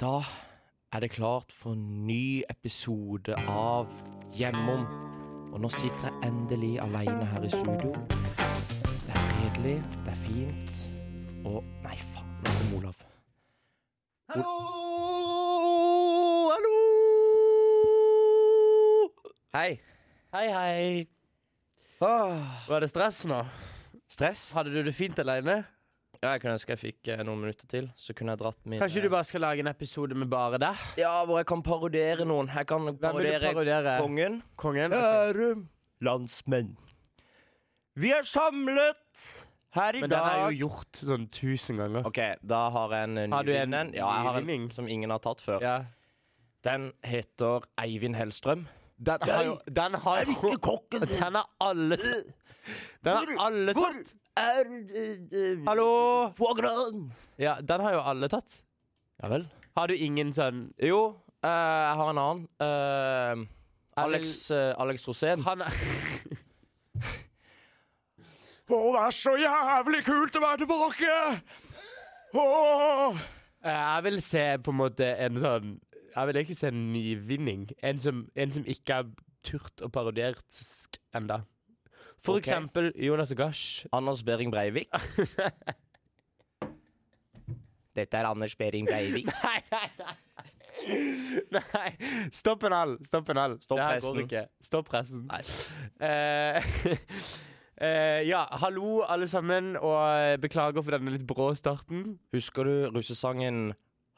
Da er det klart for ny episode av Hjemom. Og nå sitter jeg endelig aleine her i studio. Det er fredelig, det er fint. Og nei, faen, nå kom Olav. Hallo! Hallo! Hei. Hei, hei. Åh, Var det stress nå? Ah. stress? Hadde du det fint alene? Ja, jeg kunne ønske jeg fikk eh, noen minutter til, så kunne jeg dratt min eh, Kanskje du bare skal lage en episode med bare deg? Ja, hvor jeg kan parodiere noen. Jeg kan Hvem vil du parodiere parodiere? kongen. Kongen? Kjære landsmenn. Vi er samlet her i Men den dag er jo gjort sånn tusen ganger. Ok, da har jeg en eh, Har du en nyvinning. Ja, jeg har en nyvinning? som ingen har tatt før. Ja. Den heter Eivind Hellstrøm. Den har jo Den har jo kokken Den har alle tatt. Den har alle tatt. er eh, Hallo! Fogran? Ja, den har jo alle tatt. Ja vel. Har du ingen sånn Jo, eh, jeg har en annen. Eh, Alex, eh, Alex Rosén. Han er Å, det er så jævlig kult å være tilbake! Åh! Eh, Jeg vil se på en måte en sånn Jeg vil egentlig se en nyvinning. En som, en som ikke har turt å parodiere sk- enda. For Ok. eksempel Jonas Gash. Anders Behring Breivik. Dette er Anders Behring Breivik. Nei, nei, nei. Nei, Stopp en hal. Stopp en hal. Stopp Det her pressen. går ikke. Stopp pressen. Eh, eh, ja, hallo, alle sammen, og beklager for denne litt brå starten. Husker du russesangen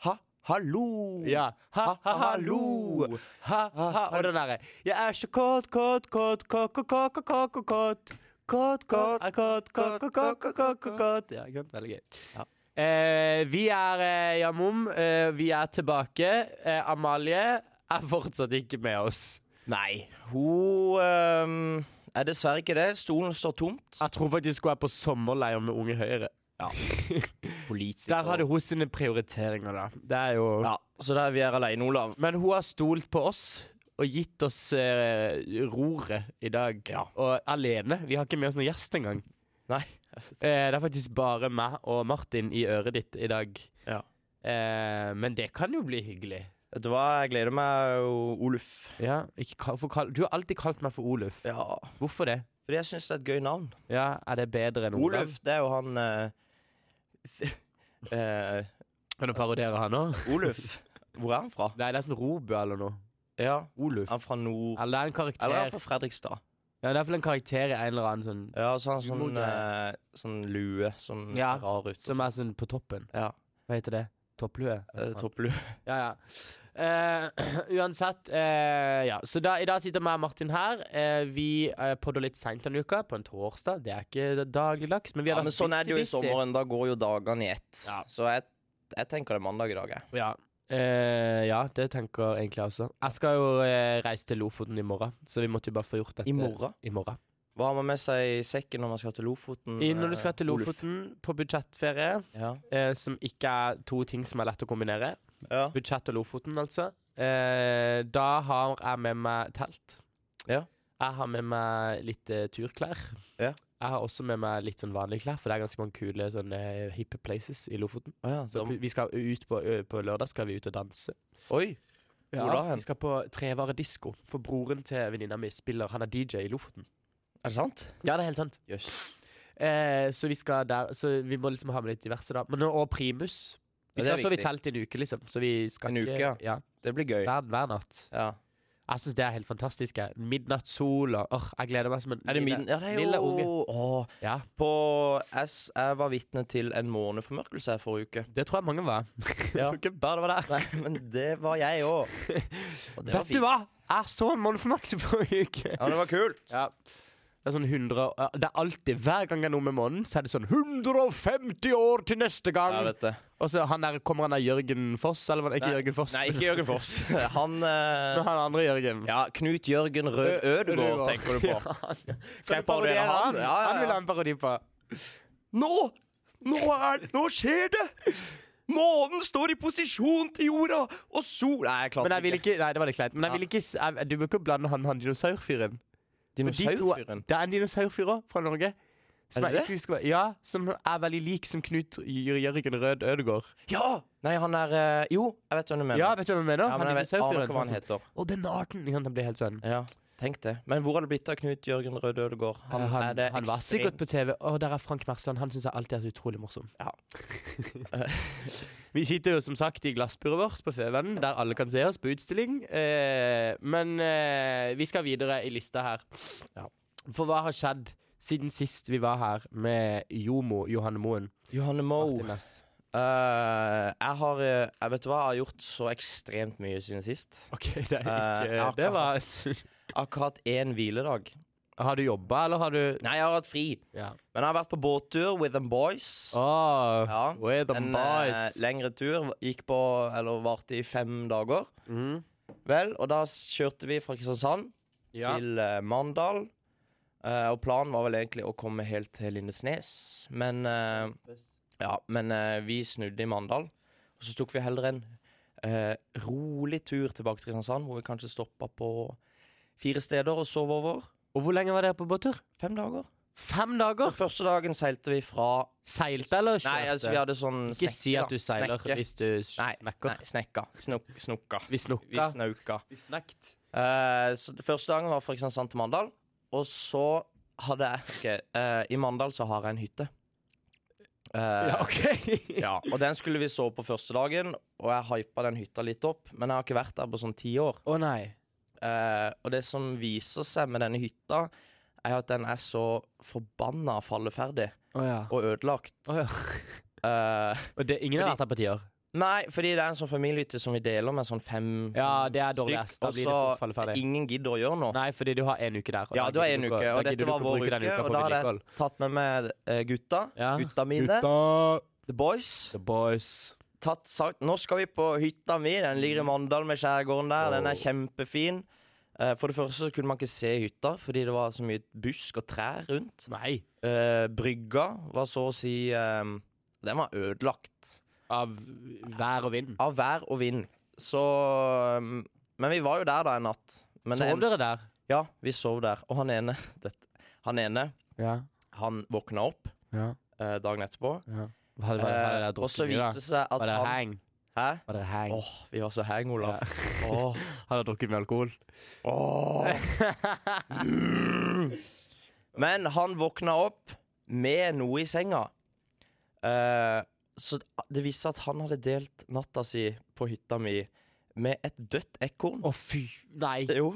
Ha, hallo? Ja. Ha, ha, hallo. Ha, ha, og den derre Jeg er så kåt, kåt, kåt, kåt, kåt, kåt, kåt, kåt, kåt, kåt. Kåt, kåt, er kåt, kåt, kåt, kåt, kåt, kåt, kåt, kåt. Ja, ikke sant? Veldig gøy. Ja. Eh, vi er eh, Jamom. Eh, vi er tilbake. Eh, Amalie er fortsatt ikke med oss. Nei, hun ehm, er dessverre ikke det. Stolen står tomt. Jeg tror faktisk hun er på sommerleir med Unge Høyre. Politiker. Der hadde hun sine prioriteringer, da. Det er jo Ja, så der vi er alene, Olav. Men hun har stolt på oss og gitt oss eh, roret i dag. Og alene. Vi har ikke med oss noen gjest engang. Nei. Eh, det er faktisk bare meg og Martin i øret ditt i dag. Ja. Eh, men det kan jo bli hyggelig. Vet du hva, jeg gleder meg, O- Oluf. Ja, ikke kall, for kall, Du har alltid kalt meg for Oluf. Ja. Hvorfor det? Fordi jeg syns det er et gøy navn. Ja, Er det bedre enn Olav? Oluf, det er jo han eh, eh, Kan du parodiere han nå? Oluf. Hvor er han fra? Nei, det er sånn Robø eller noe. Ja, Oluf. han er fra nord... Eller det er en karakter. Eller Ja, han er fra Fredrikstad. det er iallfall en karakter i en eller annen sånn Ja, og så har han sånn, Humorgreier. eh, sånn lue som Ja, ser rar ut. og Som er sånn på toppen. sånn. ja, Hva heter det? Topplue? eh, Topplue. Ja, ja. Eh, uansett, eh, ja. Så da, i dag sitter meg og Martin her. Eh, vi uh, podder litt seint denne uka, på en torsdag. Det er ikke dagligdags, men vi Ja, har men sånn er det jo i busy, busy. sommeren. Da går jo dagene i ett. Ja. Så jeg, jeg tenker det er mandag i dag, jeg. Ja. Eh, ja, det tenker egentlig jeg også. Jeg skal jo eh, reise til Lofoten i morgen, så vi måtte jo bare få gjort dette. I morgen? I morgen. Hva har man med seg i sekken når man skal til Lofoten? I, når du eh, skal til Oluf? Lofoten på budsjettferie, Ja. eh, som ikke er to ting som er lett å kombinere, ja. Budsjett og Lofoten, altså. Eh, da har jeg med meg telt. Ja. Jeg har med meg litt eh, turklær. Ja. Jeg har også med meg litt sånn vanlige klær, for det er ganske mange kule sånne eh, hippe places i Lofoten. Å ja, Så da- vi skal ut på, ø, på lørdag skal vi ut og danse. Oi! Hvor da hen? Vi skal på trevaredisko, for broren til venninna mi spiller Han er DJ i Lofoten. Er det sant? Ja, det er helt sant. Jøss. Eh, så vi skal der Så vi må liksom ha med litt diverse, da. Men, og primus. Vi Ja, det er skal sove i viktig. telt i en uke, liksom. Så vi skal En ikke uke, ja. Det blir gøy. hver, hver natt. Ja. Jeg syns det er helt fantastisk. jeg. Midnattssol og åh, Jeg gleder meg som en Er det lille- min Ja, det er lille unge. jo Åh, Ja, På S Jeg var vitne til en måneformørkelse her forrige uke. det tror jeg mange var. Jeg Ja. tror ikke bare det var der. Nei, men det var jeg òg. Og det var Vet du fint. hva? Jeg så en måneformørkelse forrige uke. Ja, men det var kult. Ja. Det er sånn 100 ja, Det er alltid, Hver gang det er noe med månen, så er det sånn 150 år til neste Jeg gang! vet det. og så han der, kommer han der Jørgen Foss, eller var det ikke Nei. Jørgen Foss? Nei, ikke Jørgen Foss. Han eh, Men han andre Jørgen. Ja, Knut Jørgen Rød Ødegård, tenker du på. Skal jeg parodiere han? Han, Ja, ja, ja. han vil ha en parodi på. Nå! Nå, er, nå skjer det! Månen står i posisjon til jorda, og sol Nei, jeg Men klarte jeg vil ikke, nei, det var litt kleint. Men jeg Ja. vil ikke s- jeg, Du bør ikke blande han med han dinosaurfyren. Dinosaurfyren. Det er en dinosaurfyr òg, fra Norge. Er Som det jeg ikke husker hva- Ja, som er veldig lik som Knut Jør- Jørgen Rød Ødegård. Ja! Nei, han er eh, Jo, jeg vet hvem du mener. Ja, vet du hva jeg mener? Ja, men jeg vet, aner ikke hva han heter. heter. sånn, Å, den arten! Ikke sant, Han ble helt sånn. Ja, tenk det. Men hvor har det blitt av Knut Jørgen Røde Ødegård? Han, er det han var sikkert ekstremt- på TV. Og der er Frank Mersland. Han syns jeg alltid er så utrolig morsom. Ja. Vi sitter jo som sagt i glassburet vårt på Føvennen, der alle kan se oss på utstilling. Eh, men eh, vi skal videre i lista her. Ja. For hva har skjedd siden sist vi var her med Jomo Johanne Moen? Johanne Moe. Martin Næss? Eh, jeg har eh, Jeg vet du hva, jeg har gjort så ekstremt mye siden sist. OK, det er Eh, ikke jeg har ikke Det var Akkurat én hviledag. Har du jobba, eller har du Nei, jeg har hatt fri. Ja. Men jeg har vært på båttur with them boys. Åh, Ja, We're Ah, the en eh, boys. lengre tur gikk på, eller varte i fem dager. Mm. Vel, og da kjørte vi fra Kristiansand Ja. til eh, Mandal. Eh, og planen var vel egentlig å komme helt til Lindesnes, men eh, Ja, men eh, vi snudde i Mandal, og så tok vi heller en eh, rolig tur tilbake til Kristiansand, hvor vi kanskje stoppa på fire steder og sov over. Og hvor lenge var dere på båttur? Fem dager. Fem dager? Så første dagen seilte vi fra Seilte eller kjørte? Nei, altså vi hadde sånn Ikke si snekke, at du da. seiler Snekke. hvis du s- Nei, snakker. Nei, snekka. Snok, snokka. Vi Vi snukka. snauka. Vi snekt. Eh, så det første dagen var fra Kristiansand til Mandal, og så hadde jeg ok, eh, I Mandal så har jeg en hytte. Eh, Ja, OK. Ja, og den skulle vi sove på første dagen, og jeg hypa den hytta litt opp. Men jeg har ikke vært der på sånn ti år. Å nei. Eh, og det som viser seg med denne hytta, er at den er så forbanna falleferdig Å ja. og ødelagt. Å, ja. Eh, Og det, ingen har vært her på ti år? nei, fordi det er en sånn familiehytte som vi deler med sånn fem Ja, det er dårlig stykk, ass. Da og blir det så fort falleferdig. Ingen gidder å gjøre noe. Nei, fordi du har én uke der. og Ja, da du har gidder én ikke å- uke, og da dette gidder du var ikke å vår bruke den uke. uka Og på da hadde vedlikehold. jeg tatt med meg eh, gutta. Ja. Gutta mine. The Boys. The boys. Tatt sagt Nå skal vi på hytta mi. Den ligger i Mandal med skjærgården der. Den Wow. er kjempefin. Eh, For det første så kunne man ikke se hytta fordi det var så mye busk og trær rundt. Nei. Eh, brygga var så å si eh, Den var ødelagt Av vær og vind. av vær og vind. Så eh, Men vi var jo der da en natt. Men det Sov endte- dere der? Ja, vi sov der. Og han ene dette, Han ene, Ja. han våkna opp ja. eh, dagen etterpå. Hva hadde Eh, dere og så drukket mye, viste da? det seg at Var dere han hang? Hæ? Var dere hang? Åh, vi var så hang, Olav. Åh. Har dere drukket mye alkohol? Men han våkna opp med noe i senga. Eh, så det viste seg at han hadde delt natta si på hytta mi med et dødt ekorn. Å, fy Nei. Jo.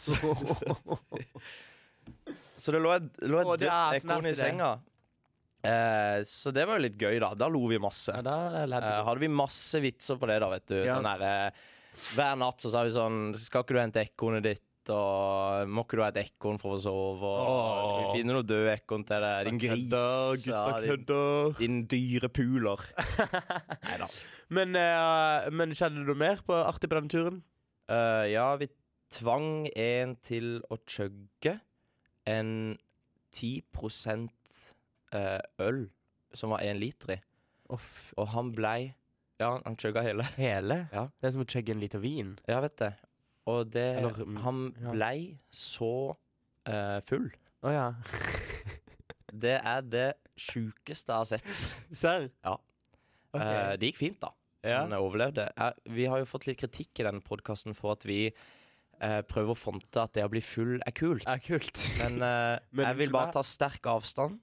Så, så det lå et, lå et Å, det dødt er så ekorn i nasty, det. senga. Eh, så det var jo litt gøy, da. Da lo vi masse. Ja, der er ledd. Eh, hadde vi masse vitser på det, da, vet du. Ja. Sånn der, eh, hver natt så sa vi sånn Skal ikke du hente ekornet ditt? Og må ikke du ha et ekorn for å sove? Og, Åh. Skal vi finne noe død ekorn til deg? Din gris. ja, din, kødder. din dyre puler. Nei da. Men, eh, men skjedde det noe mer på artig på denne turen? Eh, ja, vi tvang en til å chugge en 10 eh, øl som var én liter i. Off. Og han blei Ja, han chugga hele. Hele? Ja. Det er som å chugge en liter vin. Ja, vet det. Og det Eller, mm, Han ja. blei så eh, full. Å ja. Det er det sjukeste jeg har sett. Serr? Ja. Ok. Eh, det gikk fint, da. ja. Han overlevde. Eh, vi har jo fått litt kritikk i denne podkasten for at vi eh, prøver å fronte at det å bli full er kult. Er kult. Men, eh, Men jeg vil unnskyld meg. bare ta sterk avstand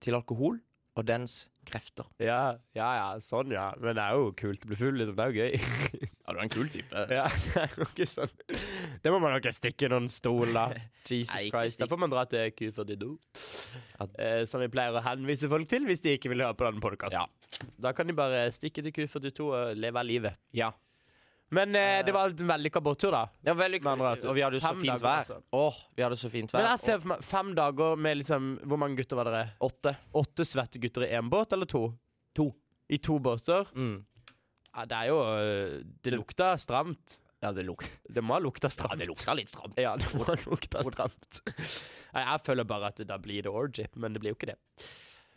til alkohol og dens krefter. Ja, ja, ja, sånn, ja. Men det er jo kult å bli full, liksom. Det er jo gøy. Ja, du er en kul type. ja, det er jo ikke sånn. Det må man nok stikke i noen stol, da. Jesus Nei, ikke Christ. Da stikk. får man dra til Q42, eh, som vi pleier å henvise folk til hvis de ikke vil høre på denne podkasten. Ja. Da kan de bare stikke til Q42 og leve livet. Ja. Men eh, det var en vellykka båttur, da. Ja, veldig Med andre ord, Og vi hadde jo så fem fint dager, vær. altså. Åh, vi hadde så fint vær. Men jeg ser for meg fem dager med liksom Hvor mange gutter var dere? Og Åtte. Åtte svette gutter i én båt, eller to? To. I to båter? Mm. Ja, det er jo øh, Det lukta stramt. Ja, det lukta, Det må ha lukta stramt. litt stramt. Ja, det må ha lukta stramt. Nei, Jeg føler bare at da blir det orgy, men det blir jo ikke det.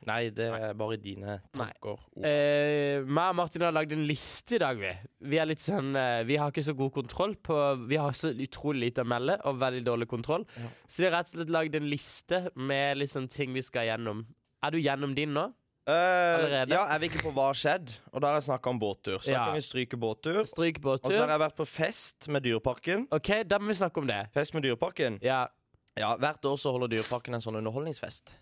Nei, det er bare dine tanker. Ord. Eh, meg og Martin har lagd en liste i dag, vi. Vi er litt sånn eh, Vi har ikke så god kontroll på Vi har så utrolig lite å melde og veldig dårlig kontroll. Ja. Så vi har rett og slett lagd en liste med liksom ting vi skal gjennom. Er du gjennom din nå? Eh, Allerede? ja, jeg vil ikke på hva har skjedd, og da har jeg snakka om båttur. Så Ja. da kan vi stryke båttur. Stryk på Og så har tur. jeg vært på fest med Dyreparken. OK, da må vi snakke om det. Fest med Dyreparken? Ja, Ja, Hvert år så holder Dyreparken en sånn underholdningsfest.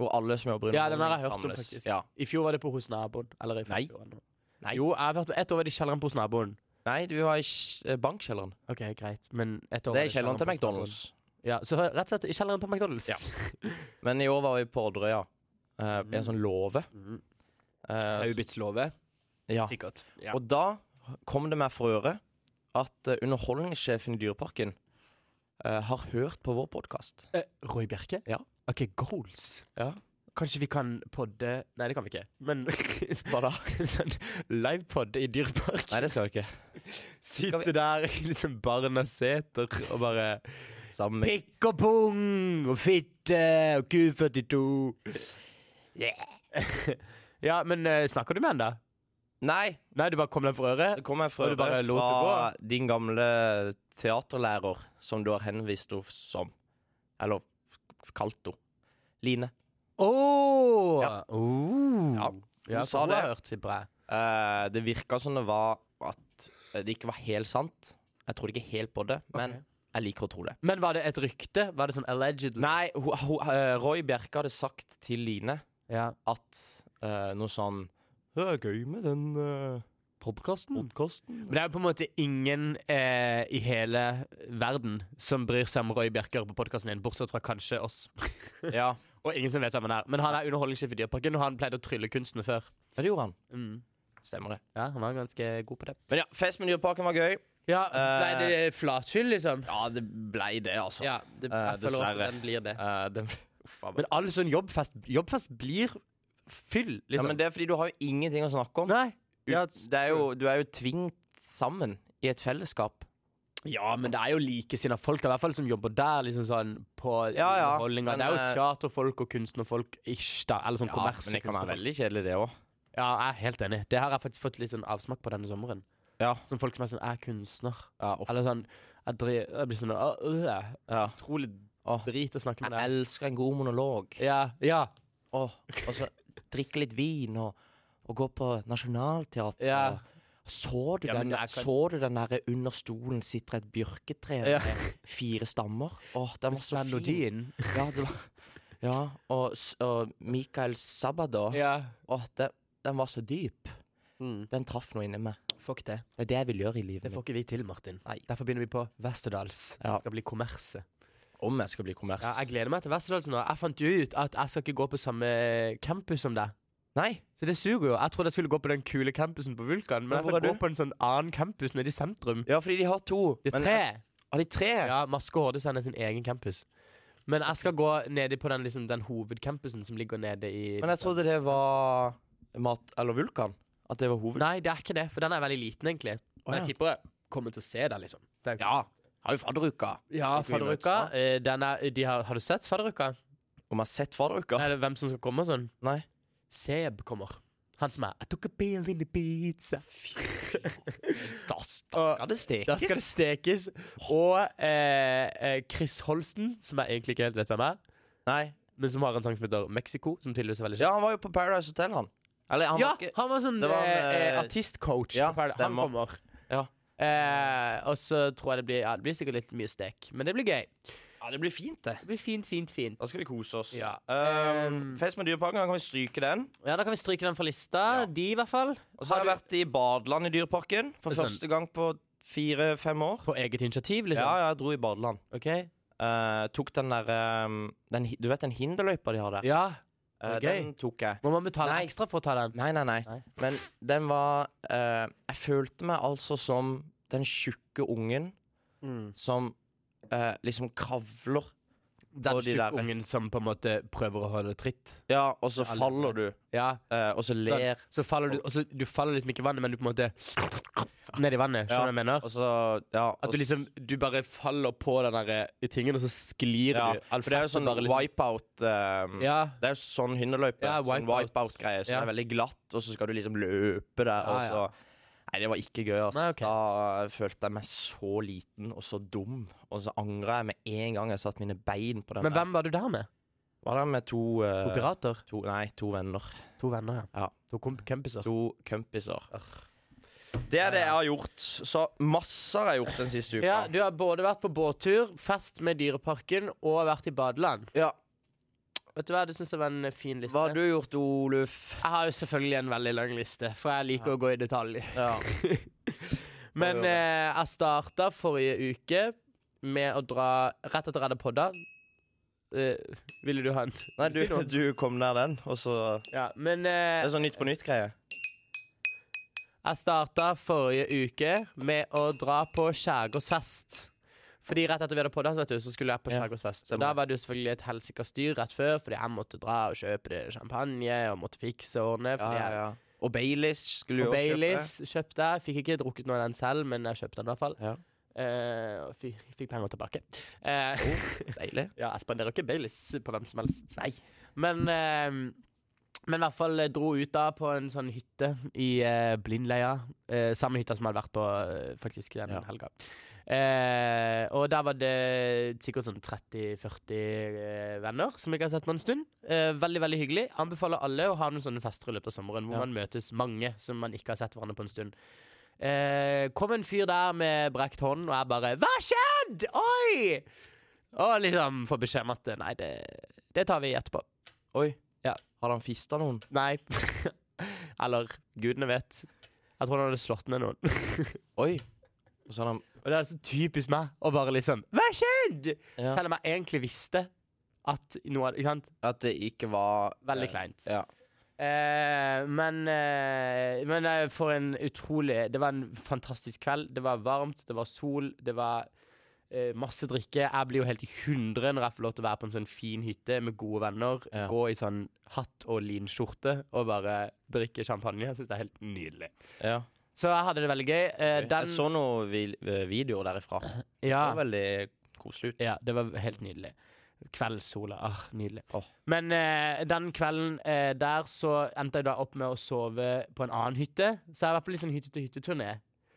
Hvor alle som jobber i Ja, den har jeg underholdning hørt om, samles. faktisk. Ja. I fjor var det på hos naboen. Eller i Nei. forfjor eller noe. Nei. Jo, jeg har vært ett år var det i kjelleren på hos naboen. Nei, vi var i kj- eh, bankkjelleren. OK, greit. Men ett år Det var er i kjelleren til på hos naboen. McDonald's. Ja, så rett og slett i kjelleren på McDonald's. Ja. Men i år var vi på Odderøya. eh, Mm. I en sånn låve. Mhm. Eh, Aubits låve. ja. Sikkert. Ja. Og da kom det meg for øre at eh, underholdningssjefen i Dyreparken eh, har hørt på vår podkast. Eh, Roy Bjerke? Ja. OK, goals. Ja. Kanskje vi kan podde Nei, det kan vi ikke. Men Hva da? sånn livepod i Dyrepark. Nei, det skal vi ikke. Sitte der i liksom barna seter og bare Sammen med Pikk og pung og fitte og Q42. ja, men eh, snakker du med han da? Nei! Nei, du bare kom deg Det for øret? kom en Og frøre du bare lot det fra din gamle teaterlærer, som du har henvist henne som. Eller kalt henne. Line. Å! Ja. Oh. Ja, Ja, sa for hun det. har hørt, tipper jeg. Eh, det virka som det var at eh, det ikke var helt sant. Jeg trodde ikke helt på det, men Ok. jeg liker å tro det. Men var det et rykte? Var det sånn allegedly? Nei, ho, ho, eh, Roy Bjerke hadde sagt til Line Ja. at eh, noe sånn Det er gøy med den uh, Podkasten? podkasten. Men det er jo på en måte ingen eh, i hele verden som bryr seg om Roy Bjerker på podkasten din, bortsett fra kanskje oss. Ja. Og ingen som vet hvem han er. Men han er underholdningssjef i Dyreparken, og han pleide å trylle kunstene før. ja, det gjorde han. Mm. Stemmer det. Ja, han var ganske god på det. Men ja, fest med Dyreparken var gøy. Ja, nei, det Eh, er flatfyll, liksom. Ja, det blei det, altså. Ja, det, Eh, jeg føler også dessverre. den blir det. Eh, den, uff, a meg. Men all sånn jobbfest Jobbfest blir fyll, ja, liksom. men det er fordi du har jo ingenting å snakke om. Nei. Ja, Det er jo, du er jo tvingt sammen i et fellesskap. Ja, men det er jo likesinna folk, da, i hvert fall som jobber der. liksom sånn på Ja, ja, underholdninga. Det men, er jo eh, teaterfolk og kunstnerfolk. Ish, da, eller sånn men det kan være kommerskunstnerfolk. veldig kjedelig, det òg. Ja, jeg er helt enig. Det har jeg faktisk fått litt sånn avsmak på denne sommeren. Ja. Sånn folk som er sånn Jeg er kunstner. Ja, uff. Eller sånn Jeg, dri, jeg blir sånn «Åh, øh, ja. Utrolig Åh. drit å snakke med Jeg deg. elsker en god monolog. Ja, ja, Og, og så drikke litt vin og, og gå på Nationaltheatret. ja. Så du, Ja, men den, jeg kan- så du den der under stolen sitter et bjørketre Ja. med fire stammer? Åh, den var så fin. Melodien. Ja, det var, ja og, s- og Mikael Sabada. Ja. Åh, den, den var så dyp. Mm. Den traff noe inni meg. Fuck det. Det er det jeg vil gjøre i Det livet får mitt. ikke vi til, Martin. Nei. Derfor begynner vi på Westerdals. Ja. Det skal bli kommerset. Om jeg skal bli kommers. Ja, jeg gleder meg til Westerdals nå. Jeg fant jo ut at jeg skal ikke gå på samme campus som deg. Nei, Så det suger jo. Jeg trodde jeg skulle gå på den kule campusen på Vulkan, men Men jeg hvor skal er gå du? på en sånn annen campus nede i sentrum. ja, fordi de har to. Det er Men- tre. Har de tre? eh, Ja, Maske og Horde sender sin egen campus. Men jeg skal gå nede på den, liksom, den hovedcampusen som ligger nede i Men jeg trodde det var mat... Eller vulkan. At det var hoved... Nei, det er ikke det, for den er veldig liten, egentlig. ja. Men jeg tipper jeg kommer til å se den, liksom. Ja. Har jo fadderuka. Ja, Ikke mye fadderuka. nødt, eh, Den er, de har, har du sett fadderuka? Om jeg har sett fadderuka? Eller hvem som skal komme og sånn? Nei. Seb kommer. Han som er I took a bill in the pizza. Da, da skal det stekes. Der skal det stekes. Og eh, eh, Chris Holsten, som jeg egentlig ikke helt vet hvem er, Nei. men som har en sang som heter Mexico, som tydeligvis er veldig kjent. Ja, han var jo på Paradise Hotel, han. Eller, han ja, var ikke han var sånn det var en, eh, eh, eh, artistcoach. ja, på Paradise. han stemmer. kommer. Ja. Eh, og så tror jeg det blir Ja, det blir sikkert litt mye stek, men det blir gøy. Ja, det blir fint, det. Det blir fint, fint, fint. Da skal vi kose oss. Ja. Ehm, Ehm. fest med Dyreparken, da kan vi stryke den. Ja, Da kan vi stryke den fra lista. Ja. De, i hvert fall. Og så har jeg Har vært i badeland i Dyreparken for Det er første gang på fire-fem år. På eget initiativ, Ja, liksom? ja, jeg dro i badeland. OK? Eh, tok den der eh, den, hi- Du vet den hinderløypa de har der? Ja. Eh, det var den tok jeg. Må man betale Nei. ekstra for å ta den? Nei, nei, nei. Nei. Men den var eh, Jeg følte meg altså som den tjukke ungen Mm. som eh, liksom kravler Den Og de der- tjukke ungen som på en måte prøver å holde tritt? Ja, og så Ja, alle- faller du, Ja. eh, og så ler altså, Så faller du, og så, du faller liksom ikke i vannet, men du på en måte ned i vannet. Skjønner du hva jeg mener? Og så, ja At du liksom Du bare faller på den derre tingen, og så sklir ja, du. Alt For det er jo fettet sånn bare liksom- wipeout eh, Ja. Det er jo sånn hundeløype. Ja, sånn wipeout. wipeout-greie. Så Ja. det er veldig glatt, og så skal du liksom løpe der, Ja, og så Nei, det var ikke gøy. ass. Nei, ok. Da følte jeg meg så liten og så dum. Og så angra jeg med en gang jeg satte mine bein på den. Men hvem var du der med? Var det med to, eh, To pirater? to Nei, to venner. To venner, ja. Ja. To komp kompiser. To kompiser. Det er det jeg har gjort. Så masse har jeg gjort den siste uka. Ja, du har både vært på båttur, fest med Dyreparken og vært i badeland. Ja. Vet du hva, du syns det var en eh, fin liste. Hva har du gjort, Oluf? Jeg har jo selvfølgelig en veldig lang liste, for jeg liker å gå i detalj. Ja. Hva Men gjorde du? eh, jeg starta forrige uke med å dra rett etter jeg hadde podda. Eh, ville du ha en? Nei, du, Si noe. du kom nær den, og så Ja, men Det eh, er sånn Nytt på nytt-greie. Jeg starta forrige uke med å dra på skjærgårdsfest. Fordi rett etter vi hadde podda, så vet du, så skulle jeg på Ja, skjærgårdsfest. Så stemmer da det. var det jo selvfølgelig et helsikas styr rett før, fordi jeg måtte dra og kjøpe det champagne og måtte fikse og ordne. Fordi jeg, Og Baileys skulle jo Og også kjøpe. Baileys kjøpte jeg. Fikk ikke drukket noe av den selv, men jeg kjøpte den i hvert fall. Ja. Eh, og fikk, fikk penger tilbake. Eh, Oh, Deilig. Ja, jeg spanderer ikke Baileys på hvem som helst. Nei. Men, eh, men i hvert fall eh, dro ut da på en sånn hytte i eh, Blindleia. Eh, samme hytta som jeg hadde vært på eh, faktisk den Ja. helga. Eh, og der var det sikkert sånn 30-40 eh, venner som jeg ikke har sett på en stund. Eh, veldig veldig hyggelig. Anbefaler alle å ha noen sånne fester i løpet av sommeren hvor Ja. man møtes mange som man ikke har sett hverandre på en stund. Eh, kom en fyr der med brekt hånd, og jeg bare 'Hva skjedd?!' Oi! Og liksom får beskjed om at nei, det, det tar vi etterpå. Oi. Ja. Har han fista noen? Nei. Eller gudene vet. Jeg tror han hadde slått ned noen. Oi. Og så har han Og det er så typisk meg å bare liksom Hva skjedde? Ja. Selv om jeg egentlig visste at noe hadde Ikke sant? At det ikke var Veldig eh, kleint. Ja. Eh, men eh, men eh, for en utrolig Det var en fantastisk kveld. Det var varmt, det var sol, det var eh, masse drikke. Jeg blir jo helt i hundre når jeg får lov til å være på en sånn fin hytte med gode venner. Ja. Gå i sånn hatt og linskjorte og bare drikke champagne. Jeg syns det er helt nydelig. ja. Så jeg hadde det veldig gøy. Eh, Jeg så noen vi- eh, videoer derifra. ja. Så veldig koselig ut. Ja, det var helt nydelig. Kveldssola. Ah, nydelig. Åh. Men eh, den kvelden eh, der så endte jeg da opp med å sove på en annen hytte. Så jeg var på litt sånn hytte-til-hytte-turné.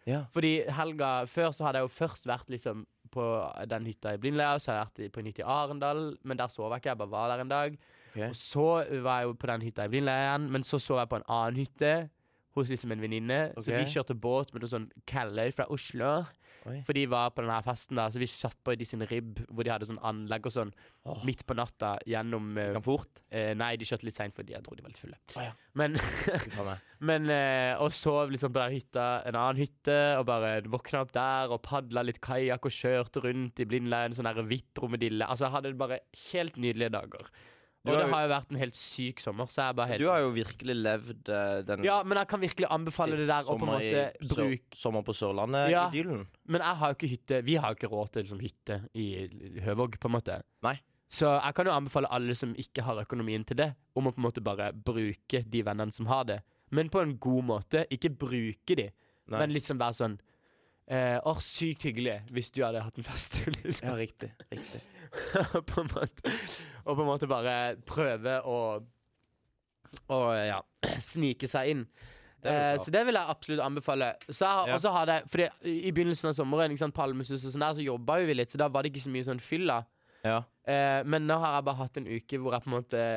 Ja. Fordi helga før så hadde jeg jo først vært liksom på den hytta i Blindleia, så hadde jeg vært i- på en hytte i Arendal, men der sov jeg ikke. Jeg bare var der en dag. Ok. Og så var jeg jo på den hytta i Blindleia igjen, men så sov jeg på en annen hytte. Hos liksom en venninne. Så Ok. vi kjørte båt med noen sånn Kelløy fra Oslo. Oi. For de var på denne her festen da Så vi satt på de sin ribb Hvor de hadde sånn anlegg og sånn Åh. Midt på natta gjennom eh, Kan fort. eh, Nei, de kjørte litt sent Fordi jeg tror de var litt fulle Å ja. Men, Fy faen meg. men eh, Og sov liksom på den hytta En annen hytte Og bare våkna opp der Og padlet litt kajak Og kjørte rundt i blindleien Sånn der hvitt romedille Altså jeg hadde bare helt nydelige dager Du Og har det jo- har jo vært en helt syk sommer Så jeg er bare helt Du har jo virkelig levd eh, den Ja, men jeg kan virkelig anbefale det der Og på en sommer i- måte Sør- bruke Sommer på Sørlandet, Ja. idyllen. Men jeg har jo ikke hytte Vi har jo ikke råd til liksom, hytte i Høvåg, på en måte. Nei. Så jeg kan jo anbefale alle som ikke har økonomien til det, om å på en måte bare bruke de vennene som har det. Men på en god måte. Ikke bruke de, Nei. men liksom være sånn eh, Åh, sykt hyggelig hvis du hadde hatt en fest. Liksom. Ja, riktig. riktig. Eh, på en måte, og på en måte bare prøve å Å ja, snike seg inn. Det er vel Eh, bra. så det vil jeg absolutt anbefale. Så jeg, har- Ja. og så har det, fordi I begynnelsen av sommeren ikke sant, Palmesus og sånn der, så jobba jo vi litt, så da var det ikke så mye sånn fylla. Ja. Eh, men nå har jeg bare hatt en uke hvor jeg på en måte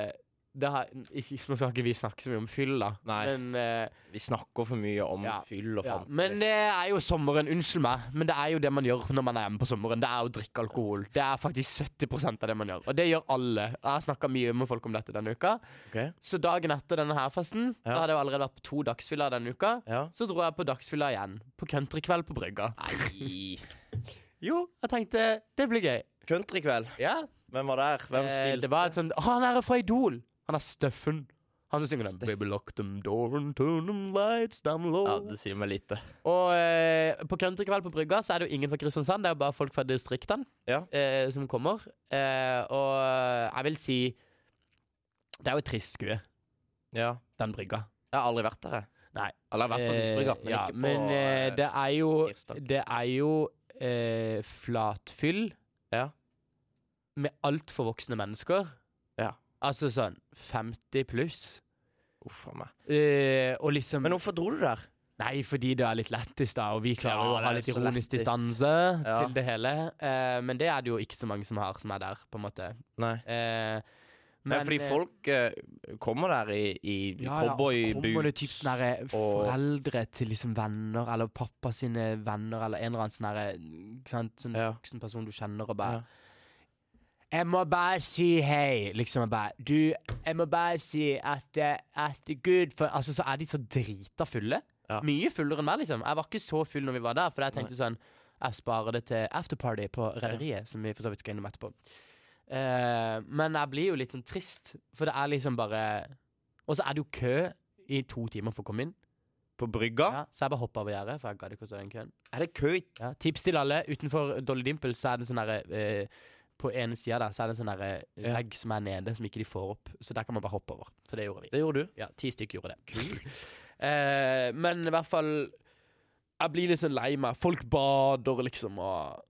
det har, ikke, Nå skal ikke vi snakke så mye om fylla, Nei. men eh, Vi snakker for mye om Ja. fyll og ja. fanteri. Men det er jo sommeren, unnskyld meg, men det er jo det man gjør når man er hjemme på sommeren. Det er å drikke alkohol. Det er faktisk 70 av det man gjør. Og det gjør alle. Jeg har snakka mye med folk om dette denne uka. Ok. Så dagen etter denne her festen, Ja. da hadde jeg jo allerede vært på to dagsfyller denne uka, Ja. så dro jeg på dagsfylla igjen. På countrykveld på brygga. Nei Jo, jeg tenkte det blir gøy. Countrykveld. Ja. Hvem var der? Hvem Eh, spilte? det var et sånt Å, han her er fra Idol! Han er Steffen. Han som synger den Baby lock them door and turn them lights down low. Ja, det sier meg lite. Og eh, på countrykveld på brygga så er det jo ingen fra Kristiansand, det er jo bare folk fra distriktene Ja. eh, som kommer. Eh, og jeg vil si Det er jo et trist skue, Ja. den brygga. Jeg har aldri vært der, jeg. Nei. Eller i hvert fall Fiskebrygga, men Eh, ja, ikke på men eh, det er jo tirsdag. Det er jo eh, flatfyll Ja. med altfor voksne mennesker. Ja. Altså sånn 50 pluss. Uff a meg. Eh, og liksom Men hvorfor dro du der? Nei, fordi det er litt lættis, da, og vi klarer Ja, jo å ha det er litt så ironisk lættis. distanse Ja. til det hele. Eh, men det er det jo ikke så mange som har, som er der, på en måte. Nei. Eh, Men, fordi eh, folk eh, kommer der i, i ja, ja, og så kommer det typ cowboyboots sånne her eh, og- foreldre til liksom venner, eller pappa sine venner, eller en eller annen sånn herre ikke sant, Sånn Ja. voksen person du kjenner, og bare Jeg må bare si hei, liksom. Og bare Du, jeg må bare si at, eh, at Gud for Altså, så er de så drita fulle. Ja. Mye fullere enn meg, liksom. Jeg var ikke så full når vi var der, for jeg tenkte sånn Jeg sparer det til afterparty på Rederiet, som vi for så vidt skal innom etterpå. Eh, men jeg blir jo litt sånn trist, for det er liksom bare Og så er det jo kø i to timer for å komme inn. på brygga. Ja, så jeg bare hoppa over gjerdet, for jeg gadd ikke å stå i den køen. Er det kø i Ja. Tips til alle. Utenfor Dolly Dimple så er det en sånn derre eh, På ene sida der så er det en sånn derre vegg som er nede, som ikke de får opp. Så der kan man bare hoppe over. Så det gjorde vi. Det gjorde du. Ja, ti stykker gjorde det. eh, men i hvert fall Jeg blir litt sånn lei meg. Folk bader, liksom, og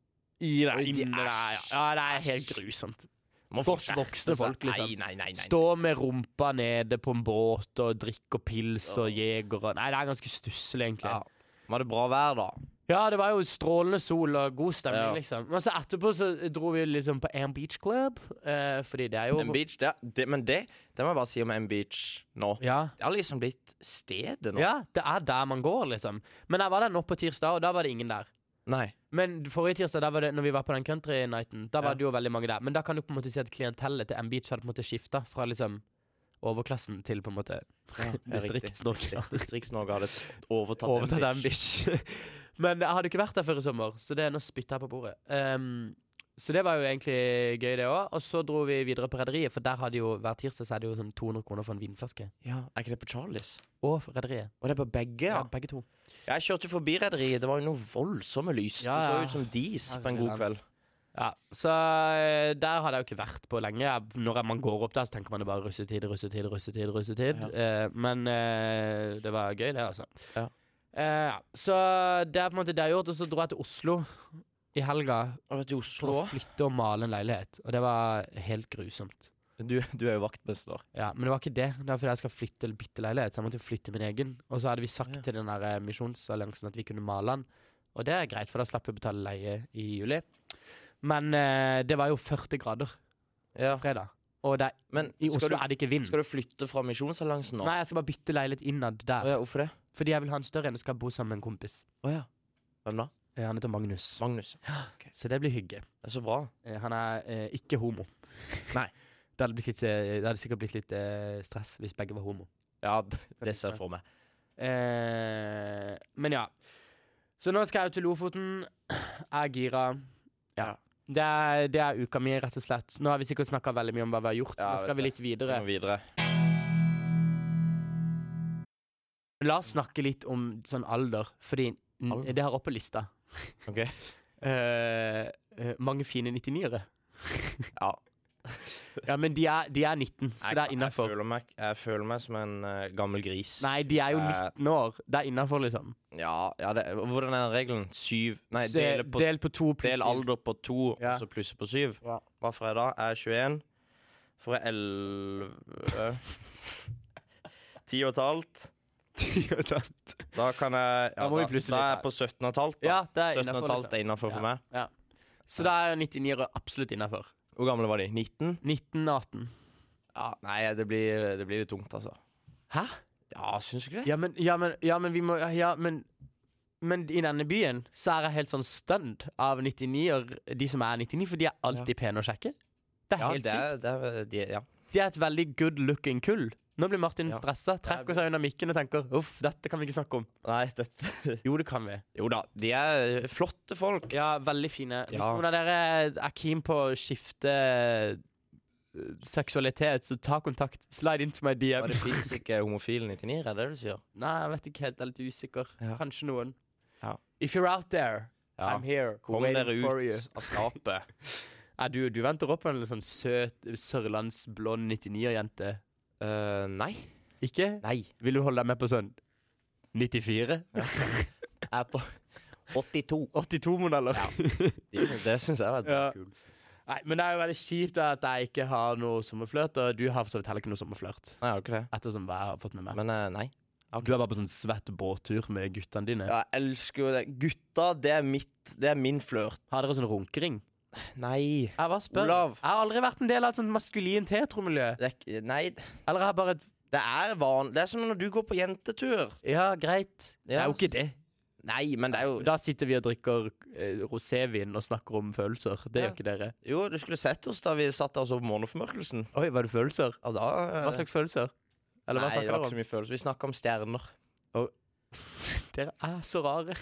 I det Oi, de inne der. Ja. ja, det er helt grusomt. Må Godt skjerpe voksne seg. folk, liksom. Nei, nei, nei. nei. Stå med rumpa nede på en båt og drikke pils og jeger og Nei, det er ganske stusslig, egentlig. Ja. Var det bra vær, da? Ja, det var jo strålende sol og god Ja. stemning, liksom. Men så etterpå så dro vi liksom på Am Beach Club, eh, fordi det er jo M Beach, det, det, men det, det må jeg bare si om M Beach nå. ja. Det har liksom blitt stedet nå. ja, det er der man går, liksom. Men jeg var der nå på tirsdag, og da var det ingen der. Nei. Men forrige tirsdag, da var det, når vi var på den country-nighten, da var Ja. det jo veldig mange der. Men da kan du på en måte si at klientellet til M Beach hadde på en måte skifta fra liksom overklassen til på en måte Ja, Distrikts-Norge. Distrikts-Norge hadde overtatt, Overtatt M Beach. Men jeg hadde ikke vært der før i sommer, så det er nå spytta jeg på bordet. Ehm, så det var jo egentlig gøy, det òg. Og så dro vi videre på Rederiet, for der hadde jo hver tirsdag så er det jo sånn 200 kroner for en vinflaske. Ja, Er ikke det på Charlies? Og for Rederiet. Og det er på begge, ja. Ja, begge to. Jeg kjørte forbi rederiet. Det var jo noe voldsomme lys. Ja, ja. Det så ut som dis på en god Herreland. kveld. Ja, Så eh, der hadde jeg jo ikke vært på lenge. Jeg- Når man går opp der, så tenker man det bare russetid, russetid, russetid. russetid. Ja. Eh, men eh, det var gøy, det, altså. Ja. Eh, ja. så det er på en måte det jeg har gjort. Og så dro jeg til Oslo i helga Og det er i for Oslo å flytte og male en leilighet. Og det var helt grusomt. Du, du er jo vaktmester. Ja, Men det var ikke det. Det var fordi jeg skal flytte eller bytte leilighet. Så jeg måtte flytte min egen. Og så hadde vi sagt Ja. til den der eh, misjonsalliansen at vi kunne male den. Og det er greit, for da slapp vi å betale leie i juli. Men eh, det var jo 40 grader Ja. fredag. Og det er, Men i Oslo skal du, er det ikke vind. skal du flytte fra Misjonsalliansen nå? Nei, jeg skal bare bytte leilighet innad der. Å ja, hvorfor det? Fordi jeg vil ha en større enn og skal bo sammen med en kompis. Å ja. Hvem da? Eh, Han heter Magnus. Magnus. Så det blir hygge. Det er så bra. Eh, Han er eh, ikke homo. Nei. Det hadde, blitt litt, eh, det hadde sikkert blitt litt eh, stress hvis begge var homo. Ja, d- det ser jeg for meg. Eh, men ja. Så nå skal jeg ut til Lofoten. Jeg er gira. Ja. Det er, det er uka mi, rett og slett. Nå har vi sikkert snakka veldig mye om hva vi har gjort. Ja, nå skal vet vi det. litt videre. Vi må videre. La oss snakke litt om sånn alder, fordi n- Alder? det har oppe lista. Ok. Eh, eh, mange fine 99-ere. Ja. Ja, men de er, de er 19, så det Jeg- er innafor. Jeg, føler meg- jeg føler meg som en eh, gammel gris. Nei, de er jo Så jeg- 19 år. Det er innafor, liksom. Ja, ja det, hvordan er den regelen? Syv Nei, Så dele på del på to pluss Del syv. alder på to, Ja. og så plusse på syv. Ja. Hva får jeg da? Jeg er 21. Får jeg 11 Ti og et halvt. Da kan jeg ja, Da må vi da, plusse da litt er her. jeg på 17 og et halvt. da. Ja, det er 17 og innafor. et halvt Liksom. er innafor for Ja. meg. Så da er 99-ere absolutt innafor. Hvor gamle var de? 19? 1918. Ja, nei, det blir, det blir litt tungt, altså. Hæ? Ja, syns du ikke det? Ja, men, ja, men, ja, men vi må Ja, men men i denne byen så er jeg helt sånn stunned av 99-er, de som er 99, for de er alltid pene å sjekke. Det er Ja, helt det sykt. er, det er, de, ja. De er et veldig good looking kull. Nå blir Martin Ja. stressa, trekker seg under mikken og tenker 'uff, dette kan vi ikke snakke om'. Nei, dette Jo, det kan vi. Jo da, de er flotte folk. Ja, veldig fine. Hvis Ja. noen av dere er keen på å skifte eh, seksualitet, så ta kontakt. Slide into my Ja, DM. det fins ikke homofile 99-ere, er det du sier? Nei, jeg vet ikke helt. Jeg er litt usikker. Ja. Kanskje noen. Ja. If you're out there, Ja. I'm here. Kom waiting dere for ut you. av skapet. Nei, du, du venter opp på en sånn søt sørlandsblond 99-jente. Eh, nei. Ikke? Nei. Vil du holde deg med på sånn 94. Jeg er på 82. 82-modeller. Det, det syns jeg var Ja. kult. Nei, men det er jo veldig kjipt at jeg ikke har noe sommerflørt, og du har for så vidt heller ikke noe sommerflørt. Nei, jeg har ikke det. Ettersom hva jeg har fått med meg. Men eh, nei. Du er bare på sånn svett båttur med guttene dine. Ja, jeg elsker jo det. Gutta, det er mitt Det er min flørt. Har dere sånn runkering? Nei. Jeg bare spør. Olav. Jeg har aldri vært en del av et sånt maskulint heteromiljø. Det er, ikke- nei. Eller jeg har bare et Det er van... Det er som når du går på jentetur. Ja, greit. Det er jo ikke det. Nei, men det er jo Da sitter vi og drikker eh, rosévin og snakker om følelser. Det Ja. gjør ikke dere. Jo, du skulle sett oss da vi satt der og så på måneformørkelsen. Oi, var det følelser? Ja, da eh, Hva slags følelser? Eller hva Nei, det snakker var dere ikke om? så mye følelse. Vi snakka om stjerner. Dere er så rare.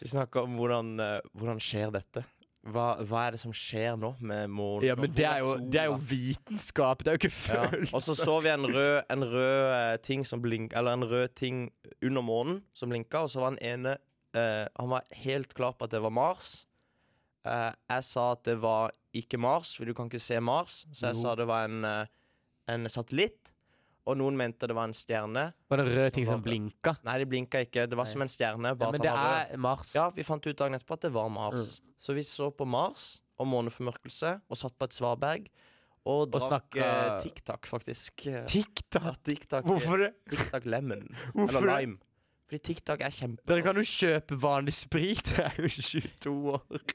Vi snakka om hvordan, eh, hvordan skjer dette. Hva, hva er det som skjer nå med månen? Ja, men Hvor det er, jo, sola? det er jo vitenskap. Det er jo ikke Ja. følelser. Og så så vi en rød, en rød eh, ting som blink, Eller en rød ting under månen som blinka, og så var han ene eh, Han var helt klar på at det var Mars. Eh, jeg sa at det var ikke Mars, for du kan ikke se Mars. Så jeg Jo. sa det var en, eh, en satellitt. Og noen mente det var en stjerne. Var det røde ting som blinka? Nei, det blinka ikke. Det var som en stjerne. Ja, Bare men at det han var rød. er Mm. Mars. Ja, vi fant ut dagen etterpå at det var Mars. Så vi så på Mars og måneformørkelse og satt på et svaberg. Og drakk snakka- eh, Tic Tac, faktisk. Eh, TikTok. Ja, Tic Tac, Hvorfor det? Tic Tac Lemon. Hvorfor Eller det? Lime. Fordi Tic Tac er kjempe... Dere kan jo kjøpe vanlig sprit. Det er jo 22 år.